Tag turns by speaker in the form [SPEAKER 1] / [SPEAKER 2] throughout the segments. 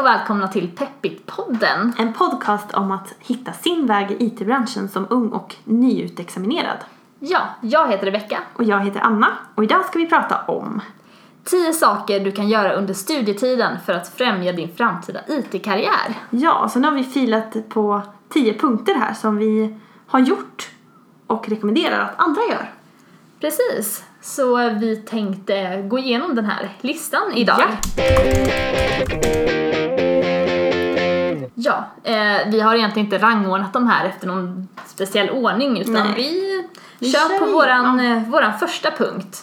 [SPEAKER 1] och välkomna till Peppit-podden.
[SPEAKER 2] En podcast om att hitta sin väg i IT-branschen som ung och nyutexaminerad.
[SPEAKER 1] Ja, jag heter Rebecka.
[SPEAKER 2] Och jag heter Anna och idag ska vi prata om
[SPEAKER 1] 10 saker du kan göra under studietiden för att främja din framtida IT-karriär.
[SPEAKER 2] Ja, så nu har vi filat på 10 punkter här som vi har gjort och rekommenderar att andra gör.
[SPEAKER 1] Precis, så vi tänkte gå igenom den här listan idag. Ja, eh, vi har egentligen inte rangordnat de här efter någon speciell ordning utan
[SPEAKER 2] Nej.
[SPEAKER 1] vi,
[SPEAKER 2] Vi
[SPEAKER 1] kör
[SPEAKER 2] kör
[SPEAKER 1] på våran,
[SPEAKER 2] igenom.
[SPEAKER 1] eh, våran första punkt.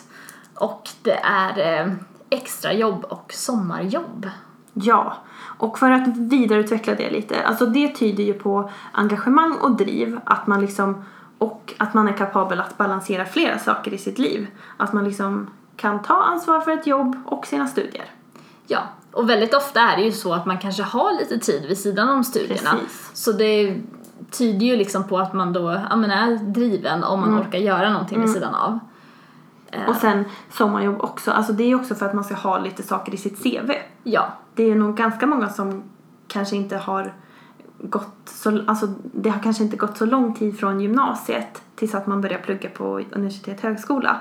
[SPEAKER 1] Och det är eh, extrajobb och sommarjobb.
[SPEAKER 2] Ja, och för att vidareutveckla det lite, alltså det tyder ju på engagemang och driv, att man liksom och att man är kapabel att balansera flera saker i sitt liv. Att man liksom kan ta ansvar för ett jobb och sina studier.
[SPEAKER 1] Ja, och väldigt ofta är det ju så att man kanske har lite tid vid sidan om studierna.
[SPEAKER 2] Precis.
[SPEAKER 1] Så det tyder ju liksom på att man då ja, men är driven om man
[SPEAKER 2] Mm.
[SPEAKER 1] orkar göra någonting vid sidan av.
[SPEAKER 2] Och sen sommarjobb också, alltså det är ju också för att man ska ha lite saker i sitt CV.
[SPEAKER 1] Ja,
[SPEAKER 2] Det är nog ganska många som kanske inte har gått så, alltså det har kanske inte gått så lång tid från gymnasiet tills att man börjar plugga på universitet högskola.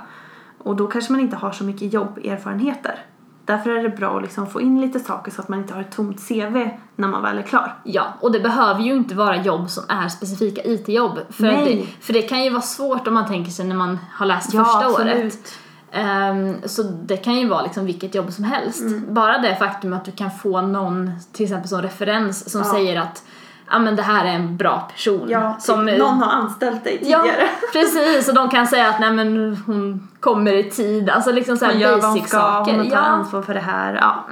[SPEAKER 2] Och då kanske man inte har så mycket jobberfarenheter. Därför är det bra att liksom få in lite saker så att man inte har ett tomt CV när man väl är klar.
[SPEAKER 1] ja, och det behöver ju inte vara jobb som är specifika IT-jobb. För, att
[SPEAKER 2] Nej.
[SPEAKER 1] det, för det kan ju vara svårt om man tänker sig när man har läst
[SPEAKER 2] Ja,
[SPEAKER 1] första året.
[SPEAKER 2] absolut.
[SPEAKER 1] Ehm, så det kan ju vara liksom vilket jobb som helst.
[SPEAKER 2] Mm.
[SPEAKER 1] Bara det faktum att du kan få någon, till exempel som referens, som
[SPEAKER 2] Ja.
[SPEAKER 1] säger att ja men det här är en bra person.
[SPEAKER 2] Ja,
[SPEAKER 1] Mm. som, eh,
[SPEAKER 2] typ, någon har anställt dig
[SPEAKER 1] Ja,
[SPEAKER 2] tidigare.
[SPEAKER 1] precis. Och de kan säga att nej men hon kommer i tid. Alltså liksom så här
[SPEAKER 2] Hon gör vad hon
[SPEAKER 1] basic
[SPEAKER 2] ska,
[SPEAKER 1] saker.
[SPEAKER 2] hon tar
[SPEAKER 1] Ja.
[SPEAKER 2] ansvar för det här. Ja.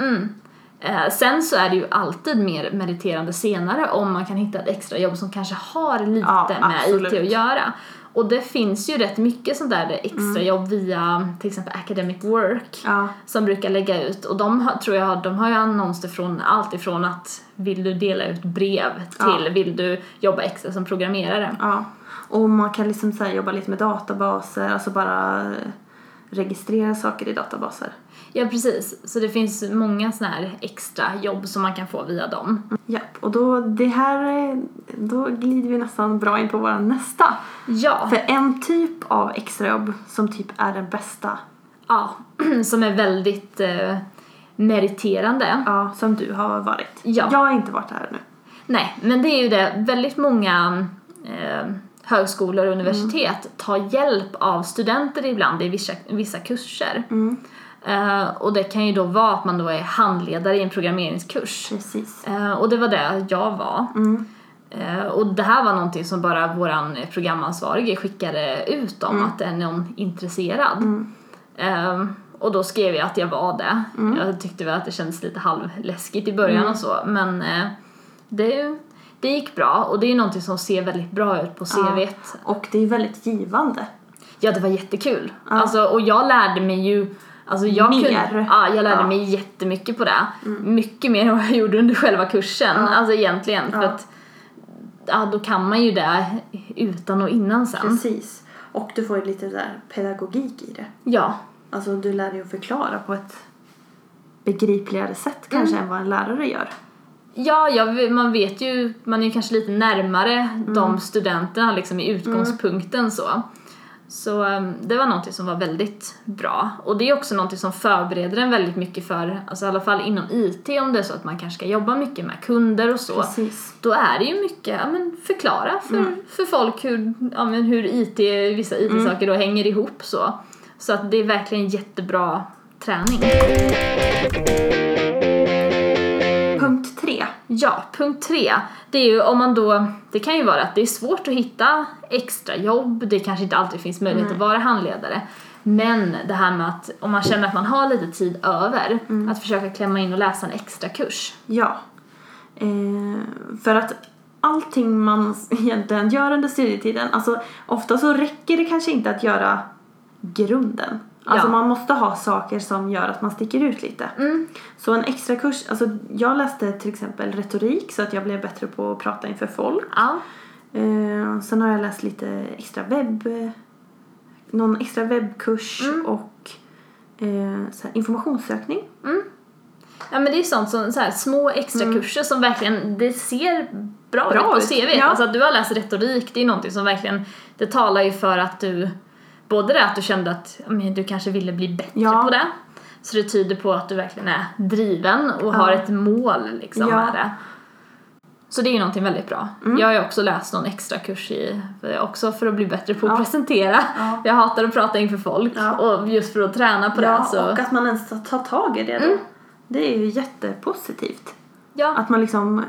[SPEAKER 1] Eh, Sen så är det ju alltid mer meriterande senare om man kan hitta ett extra jobb som kanske har lite
[SPEAKER 2] Ja,
[SPEAKER 1] med
[SPEAKER 2] absolut.
[SPEAKER 1] IT att göra. Och det finns ju rätt mycket sånt där extrajobb via till exempel Academic Work
[SPEAKER 2] Mm. Ja.
[SPEAKER 1] som brukar lägga ut och de har, tror jag de har ju annonser från allt ifrån att vill du dela ut brev till vill du jobba extra som programmerare.
[SPEAKER 2] Ja, och man kan liksom så här jobba lite med databaser, alltså bara eh, registrera saker i databaser.
[SPEAKER 1] Ja precis, så det finns många sådana här extra jobb som man kan få via dem.
[SPEAKER 2] Ja, och då, det här, eh, då glider vi nästan bra in på vår nästa.
[SPEAKER 1] Ja,
[SPEAKER 2] För en typ av extrajobb som typ är den bästa,
[SPEAKER 1] ja. som är väldigt eh, meriterande.
[SPEAKER 2] ja, som du har varit.
[SPEAKER 1] Ja.
[SPEAKER 2] Jag har inte varit här nu.
[SPEAKER 1] Nej, men det är ju det, väldigt många eh, högskolor och universitet tar hjälp av studenter ibland i vissa, vissa kurser. Eh, och det kan ju då vara att man då är handledare i en programmeringskurs.
[SPEAKER 2] Precis.
[SPEAKER 1] Eh, och det var det jag var. Eh, och det här var någonting som bara våran programansvarige skickade ut om att är någon intresserad. Eh, och då skrev jag att jag var det. Jag tyckte väl att det kändes lite halvläskigt i början och så men eh, det, det gick bra och det är ju någonting som ser väldigt bra ut på CVt.
[SPEAKER 2] Och det är väldigt givande.
[SPEAKER 1] Ja, det var jättekul. Alltså, och jag lärde mig ju Alltså jag,
[SPEAKER 2] Mer.
[SPEAKER 1] Kunde, ja, jag lärde
[SPEAKER 2] Ja. Mm.
[SPEAKER 1] mig jättemycket på det. Mycket mer än vad jag gjorde under själva kursen. Alltså egentligen. För att ja, då kan man ju det utan och innan sen.
[SPEAKER 2] Precis. Och du får ju lite där pedagogik i det.
[SPEAKER 1] Ja,
[SPEAKER 2] Alltså du lär dig att förklara på ett begripligare sätt kanske än vad en lärare gör.
[SPEAKER 1] ja jag, man vet ju, man är ju kanske lite närmare de studenterna liksom i utgångspunkten så. Så um, det var någonting som var väldigt bra. Och det är också någonting som förbereder en väldigt mycket för, alltså i alla fall inom IT om det är så att man kanske ska jobba mycket med kunder och så.
[SPEAKER 2] Precis.
[SPEAKER 1] Då är det ju mycket, ja men förklara för, för folk hur, ja, men hur IT, vissa IT-saker då hänger ihop så. Så att det är verkligen jättebra träning.
[SPEAKER 2] Punkt tre.
[SPEAKER 1] Ja, punkt tre. Det är ju om man då, det kan ju vara att det är svårt att hitta extra jobb. det kanske inte alltid finns möjlighet att vara handledare. Men det här med att om man känner att man har lite tid över, att försöka klämma in och läsa en extra kurs.
[SPEAKER 2] Ja. Eh, för att allting man egentligen gör under studietiden, alltså ofta så räcker det kanske inte att göra grunden. Alltså
[SPEAKER 1] Ja.
[SPEAKER 2] man måste ha saker som gör att man sticker ut lite. Så en extra kurs, alltså jag läste till exempel retorik så att jag blev bättre på att prata inför folk.
[SPEAKER 1] Ja,
[SPEAKER 2] Eh, sen har jag läst lite extra webb, någon extra webbkurs och eh, så här informationssökning.
[SPEAKER 1] Ja men det är sånt som så här, små extra kurser som verkligen, det ser bra,
[SPEAKER 2] Mm. Bra
[SPEAKER 1] ut
[SPEAKER 2] ut,
[SPEAKER 1] på CV.
[SPEAKER 2] ja.
[SPEAKER 1] Alltså att du har läst retorik, det är någonting som verkligen, det talar ju för att du, både det att du kände att ja, men, du kanske ville bli bättre
[SPEAKER 2] Ja.
[SPEAKER 1] på det, så det tyder på att du verkligen är driven och har ett mål liksom
[SPEAKER 2] Ja. Mm.
[SPEAKER 1] med det. Så det är ju någonting väldigt bra. Jag har ju också läst någon extra kurs i, också för att bli bättre på att
[SPEAKER 2] Ja.
[SPEAKER 1] presentera.
[SPEAKER 2] Ja.
[SPEAKER 1] Jag hatar att prata inför folk
[SPEAKER 2] Ja.
[SPEAKER 1] och just för att träna på det
[SPEAKER 2] Ja,
[SPEAKER 1] så.
[SPEAKER 2] och att man ens tar tag i det då. Det är ju jättepositivt.
[SPEAKER 1] Ja.
[SPEAKER 2] Att man liksom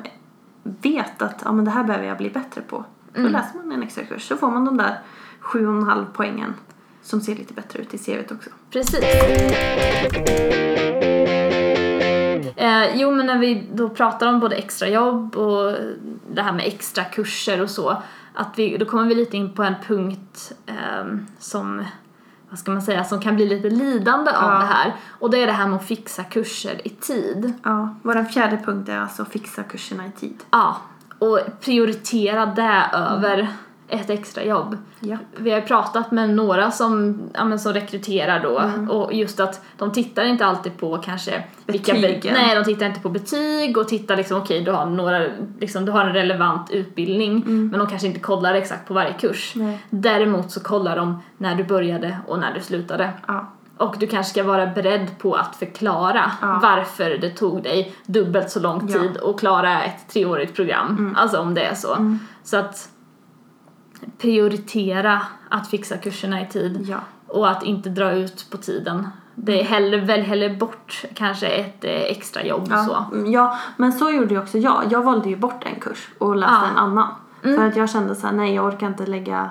[SPEAKER 2] vet att ja, men det här behöver jag bli bättre på. Då läser man en extra kurs så får man de där 7,5 poängen som ser lite bättre ut i CVt också.
[SPEAKER 1] Precis. Eh, jo, men när vi då pratar om både extrajobb och det här med extra kurser och så, att vi, då kommer vi lite in på en punkt ehm, som, vad ska man säga, som kan bli lite lidande av
[SPEAKER 2] Ja.
[SPEAKER 1] det här. Och det är det här med att fixa kurser i tid.
[SPEAKER 2] Ja, vår fjärde punkt är alltså fixa kurserna i tid.
[SPEAKER 1] Ja, och prioritera det över ett extrajobb.
[SPEAKER 2] Ja.
[SPEAKER 1] Vi har ju pratat med några som, ja, men som rekryterar då
[SPEAKER 2] Mm.
[SPEAKER 1] och just att de tittar inte alltid på kanske
[SPEAKER 2] Betygen.
[SPEAKER 1] nej, de tittar inte på betyg och tittar liksom okej du har några, liksom du har en relevant utbildning men de kanske inte kollar exakt på varje kurs.
[SPEAKER 2] Mm. Nej.
[SPEAKER 1] Däremot så kollar de när du började och när du slutade.
[SPEAKER 2] Ja,
[SPEAKER 1] Och du kanske ska vara beredd på att förklara
[SPEAKER 2] Ja.
[SPEAKER 1] varför det tog dig dubbelt så lång
[SPEAKER 2] Ja. Mm.
[SPEAKER 1] tid att klara ett treårigt program. Alltså om det är så. Så att prioritera att fixa kurserna i tid
[SPEAKER 2] ja. Mm.
[SPEAKER 1] och att inte dra ut på tiden. Det är hellre, väl hellre bort kanske ett eh, extrajobb så.
[SPEAKER 2] Ja, mm, ja, men så gjorde ju också jag. Jag valde ju bort en kurs och läste
[SPEAKER 1] Ja.
[SPEAKER 2] en annan. För att jag kände så här, nej jag orkar inte lägga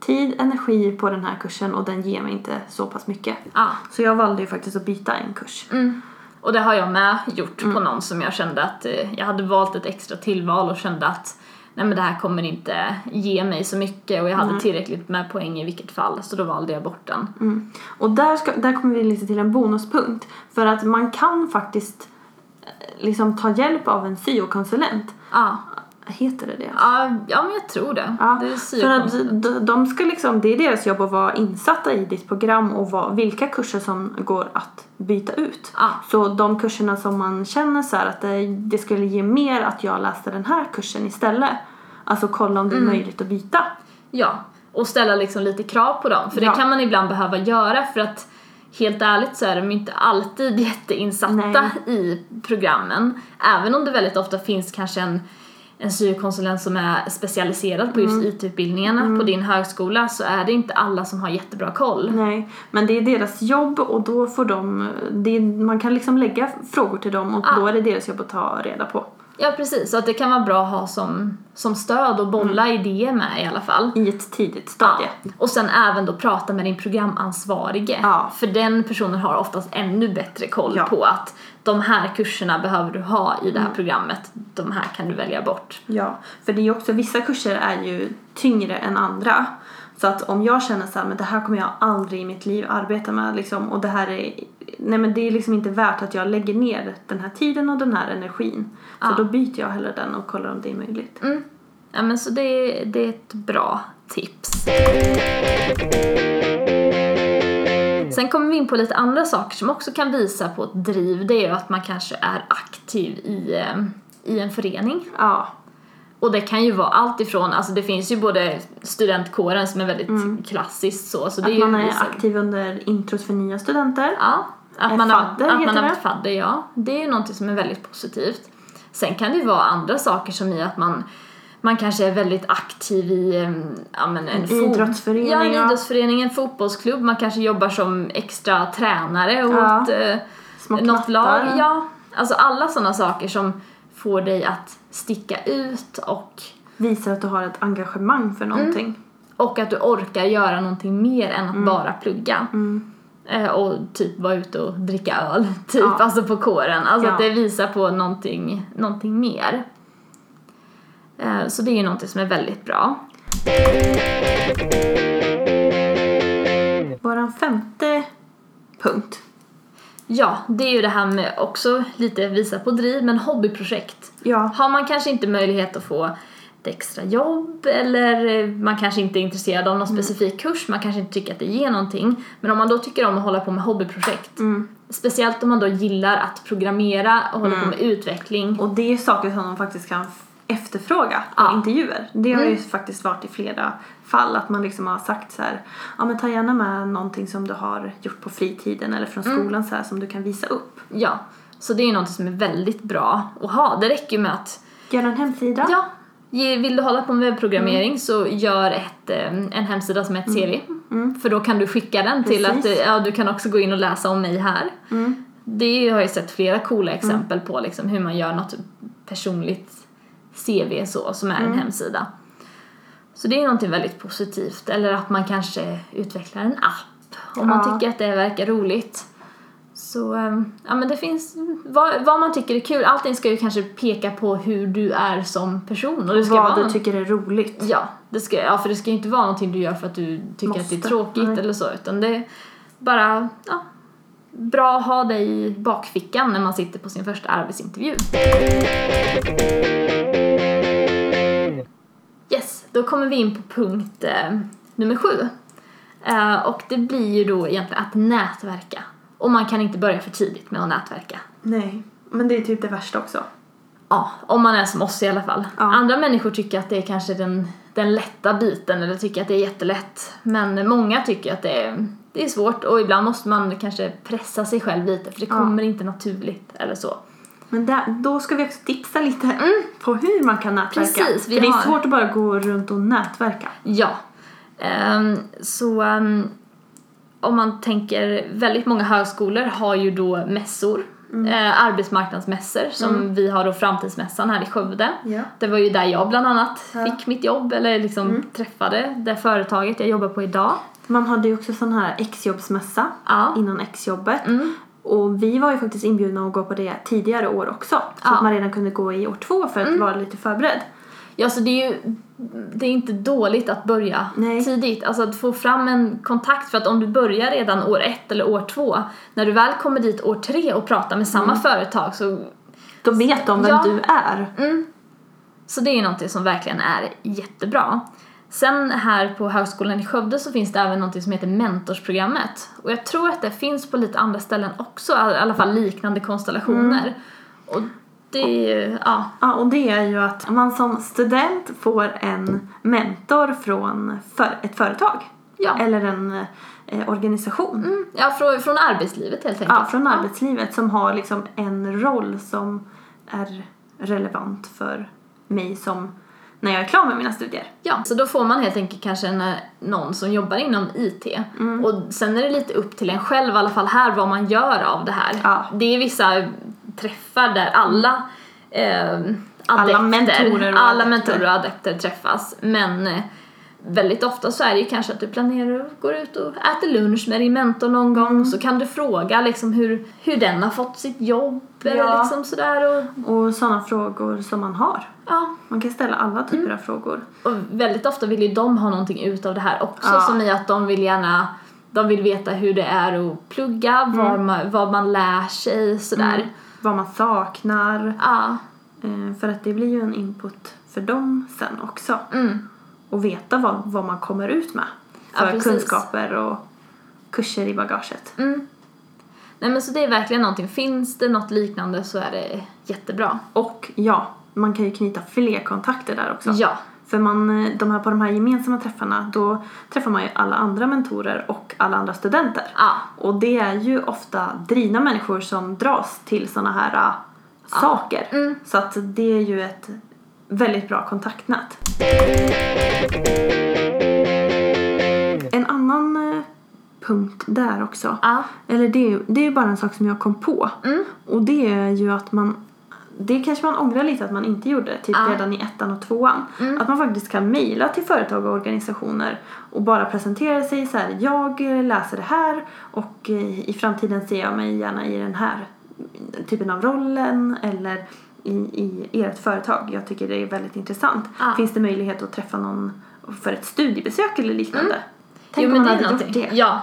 [SPEAKER 2] tid, energi på den här kursen och den ger mig inte så pass mycket.
[SPEAKER 1] Ja.
[SPEAKER 2] Så jag valde ju faktiskt att byta en kurs.
[SPEAKER 1] Mm. Och det har jag med gjort
[SPEAKER 2] Mm.
[SPEAKER 1] på någon som jag kände att eh, jag hade valt ett extra tillval och kände att nej men det här kommer inte ge mig så mycket och jag hade tillräckligt med poäng i vilket fall så då valde jag bort den.
[SPEAKER 2] Mm. Och där, ska, där kommer vi lite till en bonuspunkt. För att man kan faktiskt eh, liksom ta hjälp av en syokonsulent.
[SPEAKER 1] Ja,
[SPEAKER 2] Heter det det?
[SPEAKER 1] ja, ja men jag tror det.
[SPEAKER 2] Ja,
[SPEAKER 1] det är
[SPEAKER 2] för att
[SPEAKER 1] syokonsulent.
[SPEAKER 2] de- de ska liksom, det är deras jobb att vara insatta i ditt program och vad, vilka kurser som går att byta ut.
[SPEAKER 1] Ja.
[SPEAKER 2] Så de kurserna som man känner så här att det, det skulle ge mer att jag läste den här kursen istället. Alltså kolla om det är
[SPEAKER 1] Mm.
[SPEAKER 2] möjligt att byta.
[SPEAKER 1] Ja, och ställa liksom lite krav på dem för
[SPEAKER 2] Ja.
[SPEAKER 1] det kan man ibland behöva göra för att helt ärligt så är de ju inte alltid jätteinsatta i programmen. Även om det väldigt ofta finns kanske en en syokonsulent som är specialiserad på just IT-utbildningarna på din högskola så är det inte alla som har jättebra koll.
[SPEAKER 2] Nej, men det är deras jobb och då får de, det är, man kan liksom lägga frågor till dem och
[SPEAKER 1] Ja.
[SPEAKER 2] då är det deras jobb att ta reda på.
[SPEAKER 1] Ja precis, så att det kan vara bra att ha som, som stöd och bolla idéer med i alla fall.
[SPEAKER 2] I ett tidigt stadie.
[SPEAKER 1] Ja. Och sen även då prata med din programansvarige.
[SPEAKER 2] Ja.
[SPEAKER 1] För den personen har oftast ännu bättre koll
[SPEAKER 2] Ja. Mm.
[SPEAKER 1] på att de här kurserna behöver du ha i det här programmet. De här kan du välja bort.
[SPEAKER 2] Ja, för det är ju också, vissa kurser är ju tyngre än andra. Så att om jag känner så här, men det här kommer jag aldrig i mitt liv arbeta med liksom, och det här är, nej men det är liksom inte värt att jag lägger ner den här tiden och den här energin.
[SPEAKER 1] Ah.
[SPEAKER 2] Så då byter jag hellre den och kollar om det är möjligt.
[SPEAKER 1] Mm. Ja, men så det, det är ett bra tips. Sen kommer vi in på lite andra saker som också kan visa på ett driv. Det är ju att man kanske är aktiv i, eh, i en förening.
[SPEAKER 2] Ja,
[SPEAKER 1] Och det kan ju vara allt ifrån, alltså det finns ju både studentkåren som är väldigt klassiskt så, så det är
[SPEAKER 2] Mm. att
[SPEAKER 1] ju Ah.
[SPEAKER 2] man är
[SPEAKER 1] liksom-
[SPEAKER 2] aktiv under intros för nya studenter.
[SPEAKER 1] Ja, att
[SPEAKER 2] Eh,
[SPEAKER 1] man, har,
[SPEAKER 2] fadder
[SPEAKER 1] att man
[SPEAKER 2] heter
[SPEAKER 1] har
[SPEAKER 2] det.
[SPEAKER 1] varit fadder, ja. Det är ju någonting som är väldigt positivt. Sen kan det ju vara andra saker som i att man, man kanske är väldigt aktiv i eh, ja, men en fo-
[SPEAKER 2] idrottsförening,
[SPEAKER 1] Ja, en
[SPEAKER 2] ja.
[SPEAKER 1] idrottsförening, en fotbollsklubb. Man kanske jobbar som extra tränare åt
[SPEAKER 2] Ja.
[SPEAKER 1] eh,
[SPEAKER 2] Små
[SPEAKER 1] något lag.
[SPEAKER 2] knattar.
[SPEAKER 1] Ja, alltså alla sådana saker som får dig att sticka ut och
[SPEAKER 2] Visar att du har ett engagemang för någonting.
[SPEAKER 1] Mm. Och att du orkar göra någonting mer än
[SPEAKER 2] Mm.
[SPEAKER 1] att bara plugga. Eh, och typ vara ute och dricka öl, typ,
[SPEAKER 2] Ja.
[SPEAKER 1] alltså på kåren. Alltså
[SPEAKER 2] Ja.
[SPEAKER 1] att det visar på någonting, någonting mer. Eh, så det är ju någonting som är väldigt bra.
[SPEAKER 2] Vår femte punkt.
[SPEAKER 1] Ja, det är ju det här med också lite visa på driv, men hobbyprojekt.
[SPEAKER 2] Ja.
[SPEAKER 1] Har man kanske inte möjlighet att få ett extra jobb eller man kanske inte är intresserad av någon specifik kurs, man kanske inte tycker att det ger någonting. Men om man då tycker om att hålla på med hobbyprojekt, speciellt om man då gillar att programmera och hålla på med utveckling.
[SPEAKER 2] Och det är ju saker som de faktiskt kan efterfråga på
[SPEAKER 1] Ja.
[SPEAKER 2] intervjuer. Det har ju faktiskt varit i flera fall att man liksom har sagt så här, ja men ta gärna med någonting som du har gjort på fritiden eller från skolan så här som du kan visa upp.
[SPEAKER 1] Ja, så det är ju något som är väldigt bra att ha. Det räcker ju med att
[SPEAKER 2] Gör en hemsida.
[SPEAKER 1] Ja, ge- vill du hålla på med webbprogrammering
[SPEAKER 2] Mm.
[SPEAKER 1] så gör ett, eh, en hemsida som heter Seri. För då kan du skicka den till att
[SPEAKER 2] Mm. Precis. Mm.
[SPEAKER 1] eh, ja, du kan också gå in och läsa om mig här. Det har jag ju sett flera coola exempel på liksom, hur man gör något personligt CV så, som är
[SPEAKER 2] Mm.
[SPEAKER 1] en hemsida. Så det är någonting väldigt positivt. Eller att man kanske utvecklar en app om man
[SPEAKER 2] Ja.
[SPEAKER 1] tycker att det verkar roligt. Så eh, ja, men det finns vad, vad man tycker är kul. Allting ska ju kanske peka på hur du är som person. Och det ska vara
[SPEAKER 2] Vad du
[SPEAKER 1] någon-
[SPEAKER 2] tycker är roligt.
[SPEAKER 1] ja, det ska, ja, för det ska ju inte vara någonting du gör för att du tycker att det är
[SPEAKER 2] Måste.
[SPEAKER 1] tråkigt
[SPEAKER 2] Nej.
[SPEAKER 1] eller så. Utan det är bara ja, bra att ha dig i bakfickan när man sitter på sin första arbetsintervju. Yes, då kommer vi in på punkt eh, nummer sju. Eh, och det blir ju då egentligen att nätverka. Och man kan inte börja för tidigt med att nätverka.
[SPEAKER 2] Nej, men det är typ det värsta också.
[SPEAKER 1] Ja, om man är som oss i alla fall.
[SPEAKER 2] Ja.
[SPEAKER 1] Andra människor tycker att det är kanske den, den lätta biten eller tycker att det är jättelätt. Men många tycker att det är, det är svårt och ibland måste man kanske pressa sig själv lite för det
[SPEAKER 2] Ja.
[SPEAKER 1] kommer inte naturligt eller så.
[SPEAKER 2] Men där, då ska vi också tipsa lite på hur man kan nätverka.
[SPEAKER 1] Precis, vi
[SPEAKER 2] För det är
[SPEAKER 1] har-
[SPEAKER 2] svårt att bara gå runt och nätverka.
[SPEAKER 1] Ja. Ehm, så ehm, om man tänker, väldigt många högskolor har ju då mässor.
[SPEAKER 2] Mm.
[SPEAKER 1] Eh, arbetsmarknadsmässor som vi har då framtidsmässan här i Skövde.
[SPEAKER 2] Ja.
[SPEAKER 1] Det var ju där jag bland annat
[SPEAKER 2] Ja. Mm.
[SPEAKER 1] fick mitt jobb eller liksom träffade det företaget jag jobbar på idag.
[SPEAKER 2] Man hade ju också sån här exjobbsmässa
[SPEAKER 1] Ja. Mm.
[SPEAKER 2] innan exjobbet. Och vi var ju faktiskt inbjudna att gå på det tidigare år också. Så
[SPEAKER 1] Ja. Mm.
[SPEAKER 2] att man redan kunde gå i år två för att vara lite förberedd.
[SPEAKER 1] Ja, så det är ju det är inte dåligt att börja
[SPEAKER 2] Nej.
[SPEAKER 1] tidigt. Alltså att få fram en kontakt för att om du börjar redan år ett eller år två, när du väl kommer dit år tre och pratar med samma
[SPEAKER 2] Mm.
[SPEAKER 1] företag så
[SPEAKER 2] Då vet de vem
[SPEAKER 1] Ja.
[SPEAKER 2] du är.
[SPEAKER 1] Mm. Så det är ju någonting som verkligen är jättebra. Sen här på Högskolan i Skövde så finns det även någonting som heter mentorsprogrammet. Och jag tror att det finns på lite andra ställen också, i alla fall liknande konstellationer. Och det är ju, ja.
[SPEAKER 2] Ja, och det är ju att man som student får en mentor från för ett företag.
[SPEAKER 1] Ja.
[SPEAKER 2] Eller en eh, organisation.
[SPEAKER 1] Mm, ja från, från arbetslivet helt enkelt.
[SPEAKER 2] Ja, från arbetslivet som har liksom en roll som är relevant för mig som när jag är klar med mina studier.
[SPEAKER 1] Ja, så då får man helt enkelt kanske en, eh, någon som jobbar inom IT.
[SPEAKER 2] Mm.
[SPEAKER 1] Och sen är det lite upp till en själv, i alla fall här, vad man gör av det här.
[SPEAKER 2] Ja.
[SPEAKER 1] Det är vissa träffar där alla eh, adepter,
[SPEAKER 2] mentorer och
[SPEAKER 1] alla
[SPEAKER 2] adepter.
[SPEAKER 1] mentorer och adepter träffas. Men eh, väldigt ofta så är det ju kanske att du planerar och går ut och äter lunch med din mentor någon gång
[SPEAKER 2] Mm.
[SPEAKER 1] och så kan du fråga liksom hur, hur den har fått sitt jobb eller
[SPEAKER 2] Ja.
[SPEAKER 1] liksom sådär. Och,
[SPEAKER 2] Och sådana frågor som man har.
[SPEAKER 1] ja,
[SPEAKER 2] Man kan ställa alla typer
[SPEAKER 1] Mm.
[SPEAKER 2] av frågor.
[SPEAKER 1] Och väldigt ofta vill ju de ha någonting utav det här också
[SPEAKER 2] Ja.
[SPEAKER 1] som i att de vill gärna de vill veta hur det är att plugga,
[SPEAKER 2] Mm.
[SPEAKER 1] var man, vad man lär sig sådär.
[SPEAKER 2] Vad man saknar.
[SPEAKER 1] Ja,
[SPEAKER 2] Eh, För att det blir ju en input för dem sen också.
[SPEAKER 1] mm.
[SPEAKER 2] Och veta vad, vad man kommer ut med.
[SPEAKER 1] Ja,
[SPEAKER 2] För
[SPEAKER 1] precis. Mm.
[SPEAKER 2] kunskaper och kurser i bagaget.
[SPEAKER 1] Nej men så det är verkligen någonting, finns det något liknande så är det jättebra.
[SPEAKER 2] Och ja, man kan ju knyta fler kontakter där också.
[SPEAKER 1] Ja,
[SPEAKER 2] För man, eh, de här, på de här gemensamma träffarna då träffar man ju alla andra mentorer och alla andra studenter.
[SPEAKER 1] ja.
[SPEAKER 2] Och det är ju ofta drivna människor som dras till sådana här eh, saker. Så att det är ju ett väldigt bra kontaktnät. En annan eh, punkt där också.
[SPEAKER 1] Ja.
[SPEAKER 2] Eller det är, ju, det är ju bara en sak som jag kom på.
[SPEAKER 1] Mm.
[SPEAKER 2] Och det är ju att man det kanske man ångrar lite att man inte gjorde, typ
[SPEAKER 1] Ja. Mm.
[SPEAKER 2] redan i ettan och tvåan. Att man faktiskt kan mejla till företag och organisationer och bara presentera sig så här, jag eh, läser det här och eh, i framtiden ser jag mig gärna i den här typen av rollen eller i, i ert företag. Jag tycker det är väldigt intressant.
[SPEAKER 1] Ja.
[SPEAKER 2] Finns det möjlighet att träffa någon för ett studiebesök eller liknande? Tänk
[SPEAKER 1] Mm. jo, men
[SPEAKER 2] om man
[SPEAKER 1] det är
[SPEAKER 2] hade gjort
[SPEAKER 1] någonting.
[SPEAKER 2] det.
[SPEAKER 1] Ja.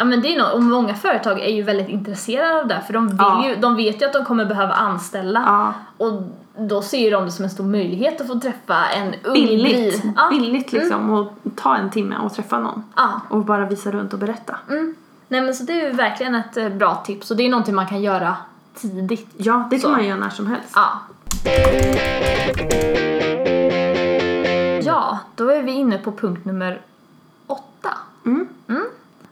[SPEAKER 1] Ja men det är något, och många företag är ju väldigt intresserade av det här, för de vill
[SPEAKER 2] Ja.
[SPEAKER 1] ju, de vet ju att de kommer behöva anställa.
[SPEAKER 2] Ja.
[SPEAKER 1] Och då ser ju de det som en stor möjlighet att få träffa en ung
[SPEAKER 2] Billigt,
[SPEAKER 1] driv- Ja. Mm.
[SPEAKER 2] billigt liksom och ta en timme och träffa någon.
[SPEAKER 1] Ja.
[SPEAKER 2] Och bara visa runt och berätta.
[SPEAKER 1] Mm. Nej men så det är ju verkligen ett eh, bra tips och det är någonting man kan göra tidigt.
[SPEAKER 2] Ja, det kan
[SPEAKER 1] Så.
[SPEAKER 2] man göra när som helst.
[SPEAKER 1] Ja. Ja, då är vi inne på punkt nummer åtta.
[SPEAKER 2] Mm.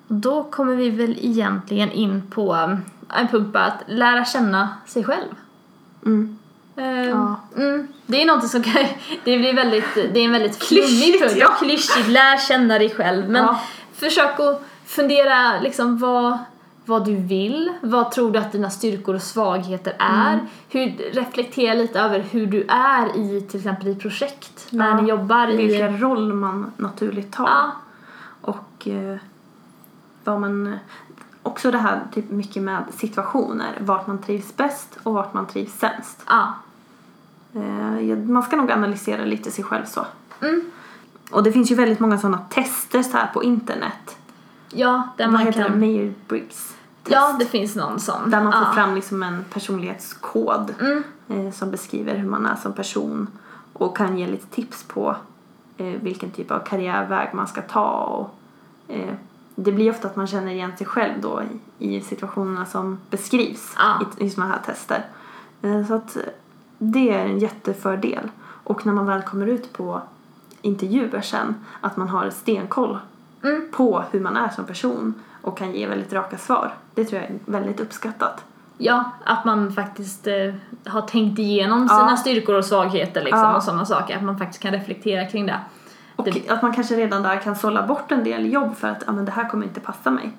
[SPEAKER 1] Då kommer vi väl egentligen in på um, en punkt på att lära känna sig själv.
[SPEAKER 2] Mm.
[SPEAKER 1] Ehm,
[SPEAKER 2] Ja.
[SPEAKER 1] mm, det är någonting som kan, det blir väldigt, det är en väldigt flummig
[SPEAKER 2] Klyschigt,
[SPEAKER 1] punkt.
[SPEAKER 2] ja.
[SPEAKER 1] Klyschigt, lär känna dig själv. Men
[SPEAKER 2] Ja.
[SPEAKER 1] försök att fundera liksom vad, vad du vill, vad tror du att dina styrkor och svagheter är.
[SPEAKER 2] Mm.
[SPEAKER 1] Hur, reflektera lite över hur du är i till exempel i projekt, när
[SPEAKER 2] Ja,
[SPEAKER 1] ni jobbar i...
[SPEAKER 2] Vilken roll man naturligt tar.
[SPEAKER 1] Ja,
[SPEAKER 2] Och eh, vad man... eh, Också det här typ mycket med situationer. Vart man trivs bäst och vart man trivs sämst.
[SPEAKER 1] ja,
[SPEAKER 2] Eh, ja, man ska nog analysera lite sig själv så.
[SPEAKER 1] Mm.
[SPEAKER 2] Och det finns ju väldigt många sådana tester så här på internet.
[SPEAKER 1] ja, där
[SPEAKER 2] Vad
[SPEAKER 1] man
[SPEAKER 2] heter det?
[SPEAKER 1] kan...
[SPEAKER 2] Mayer Briggs.
[SPEAKER 1] Ja, det finns någon sån.
[SPEAKER 2] Där man får
[SPEAKER 1] ja.
[SPEAKER 2] fram liksom en personlighetskod
[SPEAKER 1] Mm.
[SPEAKER 2] eh, som beskriver hur man är som person och kan ge lite tips på eh, vilken typ av karriärväg man ska ta. Och, eh, det blir ofta att man känner igen sig själv då i, i situationerna som beskrivs
[SPEAKER 1] Ja.
[SPEAKER 2] i, i sådana här tester. Eh, så att eh, det är en jättefördel. Och när man väl kommer ut på intervjuer sen, att man har stenkoll
[SPEAKER 1] Mm.
[SPEAKER 2] på hur man är som person och kan ge väldigt raka svar. Det tror jag är väldigt uppskattat.
[SPEAKER 1] Ja, att man faktiskt eh, har tänkt igenom
[SPEAKER 2] Ja.
[SPEAKER 1] sina styrkor och svagheter liksom,
[SPEAKER 2] Ja.
[SPEAKER 1] och sådana saker. Att man faktiskt kan reflektera kring det.
[SPEAKER 2] Och
[SPEAKER 1] Det-
[SPEAKER 2] att man kanske redan där kan sålla bort en del jobb för att ja, men det här kommer inte passa mig.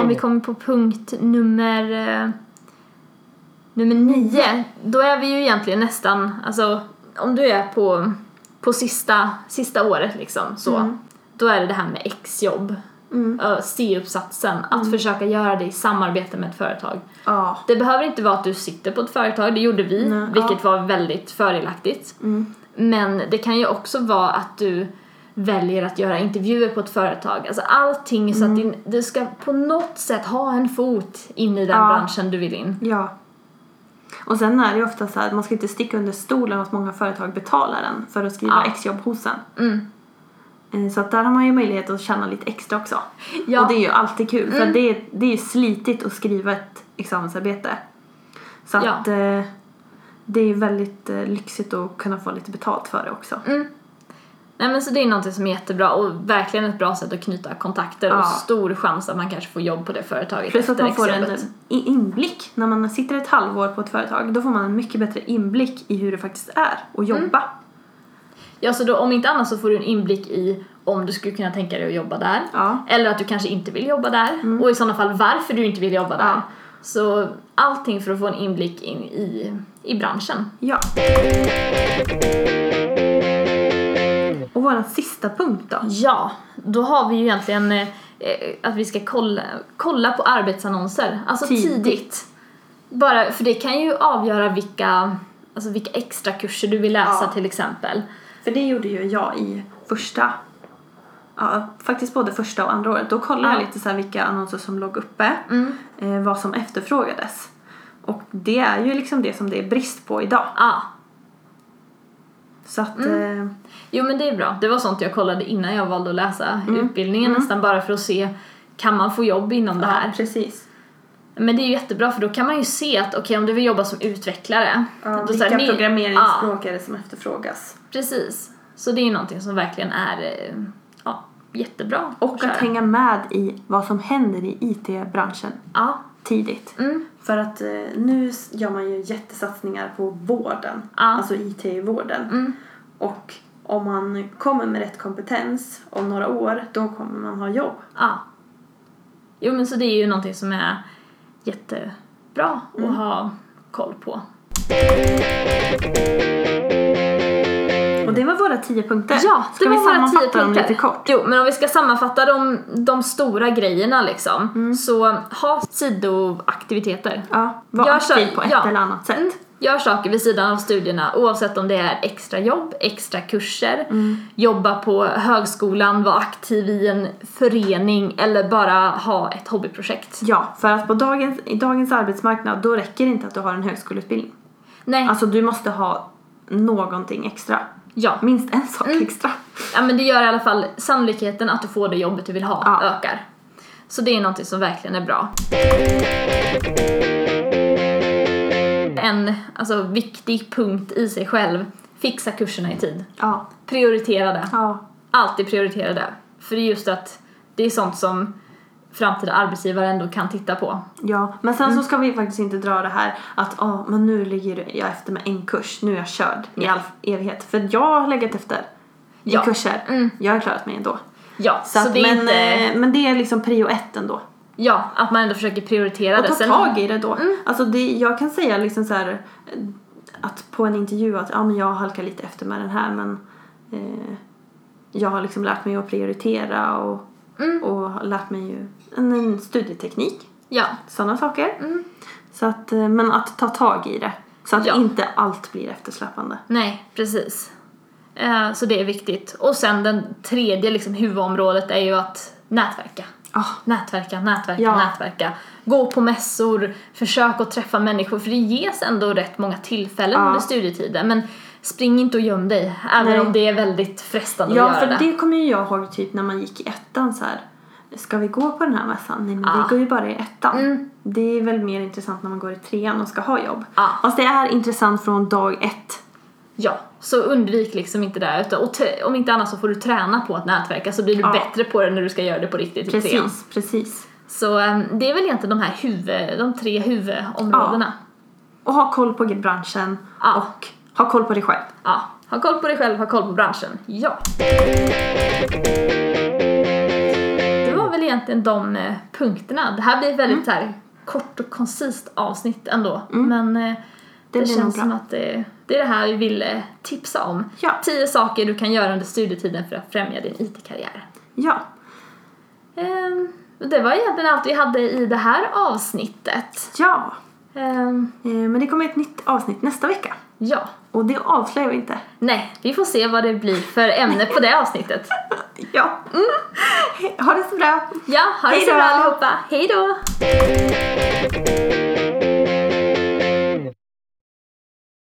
[SPEAKER 1] Om vi kommer på punkt nummer, eh, nummer nio, då är vi ju egentligen nästan, alltså om du är på, på sista, sista året liksom så, då är det det här med exjobb.
[SPEAKER 2] Mm.
[SPEAKER 1] Eh, C-uppsatsen, att försöka göra det i samarbete med ett företag.
[SPEAKER 2] Ja.
[SPEAKER 1] Det behöver inte vara att du sitter på ett företag, det gjorde vi,
[SPEAKER 2] Nej, Mm.
[SPEAKER 1] vilket var väldigt fördelaktigt. Men det kan ju också vara att du väljer att göra intervjuer på ett företag. Alltså allting
[SPEAKER 2] Mm.
[SPEAKER 1] så att din, du ska på något sätt ha en fot in i den
[SPEAKER 2] Ja.
[SPEAKER 1] branschen du vill in.
[SPEAKER 2] ja. Och sen är det ju ofta så här att man ska inte sticka under stolen att många företag betalar en för att skriva
[SPEAKER 1] Ja.
[SPEAKER 2] exjobb hos en.
[SPEAKER 1] Mm.
[SPEAKER 2] Eh, Så att där har man ju möjlighet att tjäna lite extra också.
[SPEAKER 1] Ja. Mm.
[SPEAKER 2] Och det är ju alltid kul för det är, det är ju slitigt att skriva ett examensarbete. Så
[SPEAKER 1] Ja.
[SPEAKER 2] att eh, det är ju väldigt eh, lyxigt att kunna få lite betalt för det också.
[SPEAKER 1] Nej men så det är någonting som är jättebra och verkligen ett bra sätt att knyta kontakter
[SPEAKER 2] Ja.
[SPEAKER 1] och stor chans att man kanske får jobb på det företaget
[SPEAKER 2] Plus att
[SPEAKER 1] efter
[SPEAKER 2] man får en
[SPEAKER 1] exjobbet.
[SPEAKER 2] i- inblick. När man sitter ett halvår på ett företag då får man en mycket bättre inblick i hur det faktiskt är att
[SPEAKER 1] Mm.
[SPEAKER 2] jobba.
[SPEAKER 1] Ja så då om inte annat så får du en inblick i om du skulle kunna tänka dig att jobba där.
[SPEAKER 2] Ja.
[SPEAKER 1] Eller att du kanske inte vill jobba där och i sådana fall varför du inte vill jobba där.
[SPEAKER 2] Ja.
[SPEAKER 1] Så allting för att få en inblick in i, i branschen.
[SPEAKER 2] ja. Och vår sista punkt då.
[SPEAKER 1] Ja, då har vi ju egentligen eh, eh, att vi ska kolla, kolla på arbetsannonser, alltså tidigt.
[SPEAKER 2] Tidigt.
[SPEAKER 1] Bara, för det kan ju avgöra vilka, alltså vilka extra kurser du vill läsa
[SPEAKER 2] Ja.
[SPEAKER 1] till exempel.
[SPEAKER 2] För det gjorde ju jag i första, ja, faktiskt både första och andra året. Då kollade
[SPEAKER 1] Ja. Mm.
[SPEAKER 2] jag lite så här vilka annonser som låg uppe, eh, vad som efterfrågades. Och det är ju liksom det som det är brist på idag.
[SPEAKER 1] Ja,
[SPEAKER 2] Så att,
[SPEAKER 1] Mm.
[SPEAKER 2] eh,
[SPEAKER 1] jo men det är bra. Det var sånt jag kollade innan jag valde att läsa utbildningen nästan bara för att se kan man få jobb inom det här?
[SPEAKER 2] ja precis.
[SPEAKER 1] Men det är ju jättebra för då kan man ju se att okej om du vill jobba som utvecklare.
[SPEAKER 2] Ja,
[SPEAKER 1] då så här,
[SPEAKER 2] vilka
[SPEAKER 1] ni- Ja,
[SPEAKER 2] programmeringsspråk är det som efterfrågas?
[SPEAKER 1] precis. Så det är ju någonting som verkligen är eh, ja, jättebra.
[SPEAKER 2] Och
[SPEAKER 1] köra.
[SPEAKER 2] att hänga med i vad som händer i IT-branschen
[SPEAKER 1] Ja,
[SPEAKER 2] tidigt.
[SPEAKER 1] mm,
[SPEAKER 2] För att eh, nu s- gör man ju jättesatsningar på vården,
[SPEAKER 1] Ja.
[SPEAKER 2] alltså IT i vården.
[SPEAKER 1] Mm.
[SPEAKER 2] Och om man kommer med rätt kompetens om några år, då kommer man ha jobb.
[SPEAKER 1] ja. Jo men så det är ju någonting som är jättebra
[SPEAKER 2] Mm.
[SPEAKER 1] att ha koll på.
[SPEAKER 2] Och det var våra tio punkter.
[SPEAKER 1] Ja, det
[SPEAKER 2] Ska
[SPEAKER 1] var
[SPEAKER 2] vi
[SPEAKER 1] våra
[SPEAKER 2] sammanfatta
[SPEAKER 1] tio
[SPEAKER 2] dem
[SPEAKER 1] punkter.
[SPEAKER 2] lite kort?
[SPEAKER 1] Jo, men om vi ska sammanfatta de, de stora grejerna liksom.
[SPEAKER 2] Mm.
[SPEAKER 1] Så ha sidoaktiviteter.
[SPEAKER 2] Ja, var
[SPEAKER 1] Jag
[SPEAKER 2] aktiv
[SPEAKER 1] kör-
[SPEAKER 2] på ett
[SPEAKER 1] ja.
[SPEAKER 2] eller annat sätt.
[SPEAKER 1] Mm. Gör saker vid sidan av studierna oavsett om det är extra jobb, extra kurser,
[SPEAKER 2] Mm.
[SPEAKER 1] jobba på högskolan, vara aktiv i en förening eller bara ha ett hobbyprojekt.
[SPEAKER 2] Ja, för att på dagens, i dagens arbetsmarknad då räcker det inte att du har en högskoleutbildning.
[SPEAKER 1] Nej,
[SPEAKER 2] Alltså du måste ha någonting extra.
[SPEAKER 1] ja.
[SPEAKER 2] Minst en sak
[SPEAKER 1] Mm.
[SPEAKER 2] extra.
[SPEAKER 1] ja men det gör i alla fall sannolikheten att du får det jobbet du vill ha
[SPEAKER 2] Ja.
[SPEAKER 1] ökar. Så det är någonting som verkligen är bra. En alltså, viktig punkt i sig själv, fixa kurserna i tid.
[SPEAKER 2] Ja.
[SPEAKER 1] Prioritera det.
[SPEAKER 2] Ja.
[SPEAKER 1] Alltid prioritera det. För det är just att det är sånt som framtida arbetsgivare ändå kan titta på.
[SPEAKER 2] Ja, men sen
[SPEAKER 1] Mm.
[SPEAKER 2] så ska vi faktiskt inte dra det här att ah, men nu ligger jag efter med en kurs, nu är jag körd i all evighet. För jag har legat efter i
[SPEAKER 1] Ja.
[SPEAKER 2] kurser. Jag har klarat mig ändå.
[SPEAKER 1] Ja,
[SPEAKER 2] Så
[SPEAKER 1] så,
[SPEAKER 2] att,
[SPEAKER 1] det är
[SPEAKER 2] men,
[SPEAKER 1] inte...
[SPEAKER 2] eh, men det är liksom prio ett ändå.
[SPEAKER 1] Ja, att man ändå försöker prioritera
[SPEAKER 2] Och
[SPEAKER 1] det.
[SPEAKER 2] ta
[SPEAKER 1] Sen- Mm.
[SPEAKER 2] tag i det då. Alltså det, jag kan säga liksom så här eh, att på en intervju att ja men jag halkar lite efter med den här men eh, jag har liksom lärt mig att prioritera och,
[SPEAKER 1] Mm.
[SPEAKER 2] och har lärt mig ju en, en studieteknik,
[SPEAKER 1] Ja,
[SPEAKER 2] sådana saker. Så att, eh, men att ta tag i det så att
[SPEAKER 1] Mm. Ja.
[SPEAKER 2] inte allt blir eftersläpande.
[SPEAKER 1] Nej, precis. Eh, Så det är viktigt. Och sen den tredje liksom, huvudområdet är ju att nätverka.
[SPEAKER 2] Ja.
[SPEAKER 1] Nätverka, nätverka,
[SPEAKER 2] Ja.
[SPEAKER 1] nätverka. Gå på mässor, försök att träffa människor för det ges ändå rätt många tillfällen
[SPEAKER 2] Ja.
[SPEAKER 1] under studietiden. Men spring inte och göm dig, även
[SPEAKER 2] Nej.
[SPEAKER 1] om det är väldigt frestande
[SPEAKER 2] Ja,
[SPEAKER 1] att
[SPEAKER 2] för
[SPEAKER 1] göra det.
[SPEAKER 2] det kommer ju jag ihåg typ när man gick i ettan så här. Ska vi gå på den här mässan? Nej men
[SPEAKER 1] Ja.
[SPEAKER 2] vi går ju bara i ettan.
[SPEAKER 1] Mm.
[SPEAKER 2] Det är väl mer intressant när man går i trean och ska ha jobb.
[SPEAKER 1] Ja.
[SPEAKER 2] Fast det är intressant från dag ett.
[SPEAKER 1] Ja, så undvik liksom inte det. Utan, och t- om inte annat så får du träna på att nätverka så blir du
[SPEAKER 2] Ja.
[SPEAKER 1] bättre på det när du ska göra det på riktigt i
[SPEAKER 2] Precis,
[SPEAKER 1] trean.
[SPEAKER 2] precis.
[SPEAKER 1] Så eh, det är väl egentligen de här huvud, de tre huvudområdena.
[SPEAKER 2] Och ha koll på branschen
[SPEAKER 1] Ja.
[SPEAKER 2] och ha koll på dig själv.
[SPEAKER 1] Ja, ha koll på dig själv, ha koll på branschen. Ja. Det var väl egentligen de eh, punkterna. Det här blir ett
[SPEAKER 2] Mm.
[SPEAKER 1] väldigt så här, kort och koncist avsnitt ändå. Men eh, det,
[SPEAKER 2] Det blir nog
[SPEAKER 1] känns
[SPEAKER 2] bra.
[SPEAKER 1] som att det, det är det här vi ville tipsa om.
[SPEAKER 2] Ja.
[SPEAKER 1] Tio saker du kan göra under studietiden för att främja din IT-karriär.
[SPEAKER 2] Ja,
[SPEAKER 1] Ehm, det var egentligen allt vi hade i det här avsnittet.
[SPEAKER 2] ja.
[SPEAKER 1] Ehm,
[SPEAKER 2] Eh, Men det kommer ett nytt avsnitt nästa vecka.
[SPEAKER 1] ja.
[SPEAKER 2] Och det avslöjar vi inte.
[SPEAKER 1] Nej, vi får se vad det blir för ämne på det avsnittet.
[SPEAKER 2] Ja.
[SPEAKER 1] Mm.
[SPEAKER 2] Ha det så bra.
[SPEAKER 1] Ja, ha det
[SPEAKER 2] Hej
[SPEAKER 1] så bra
[SPEAKER 2] då.
[SPEAKER 1] allihopa. Hej då!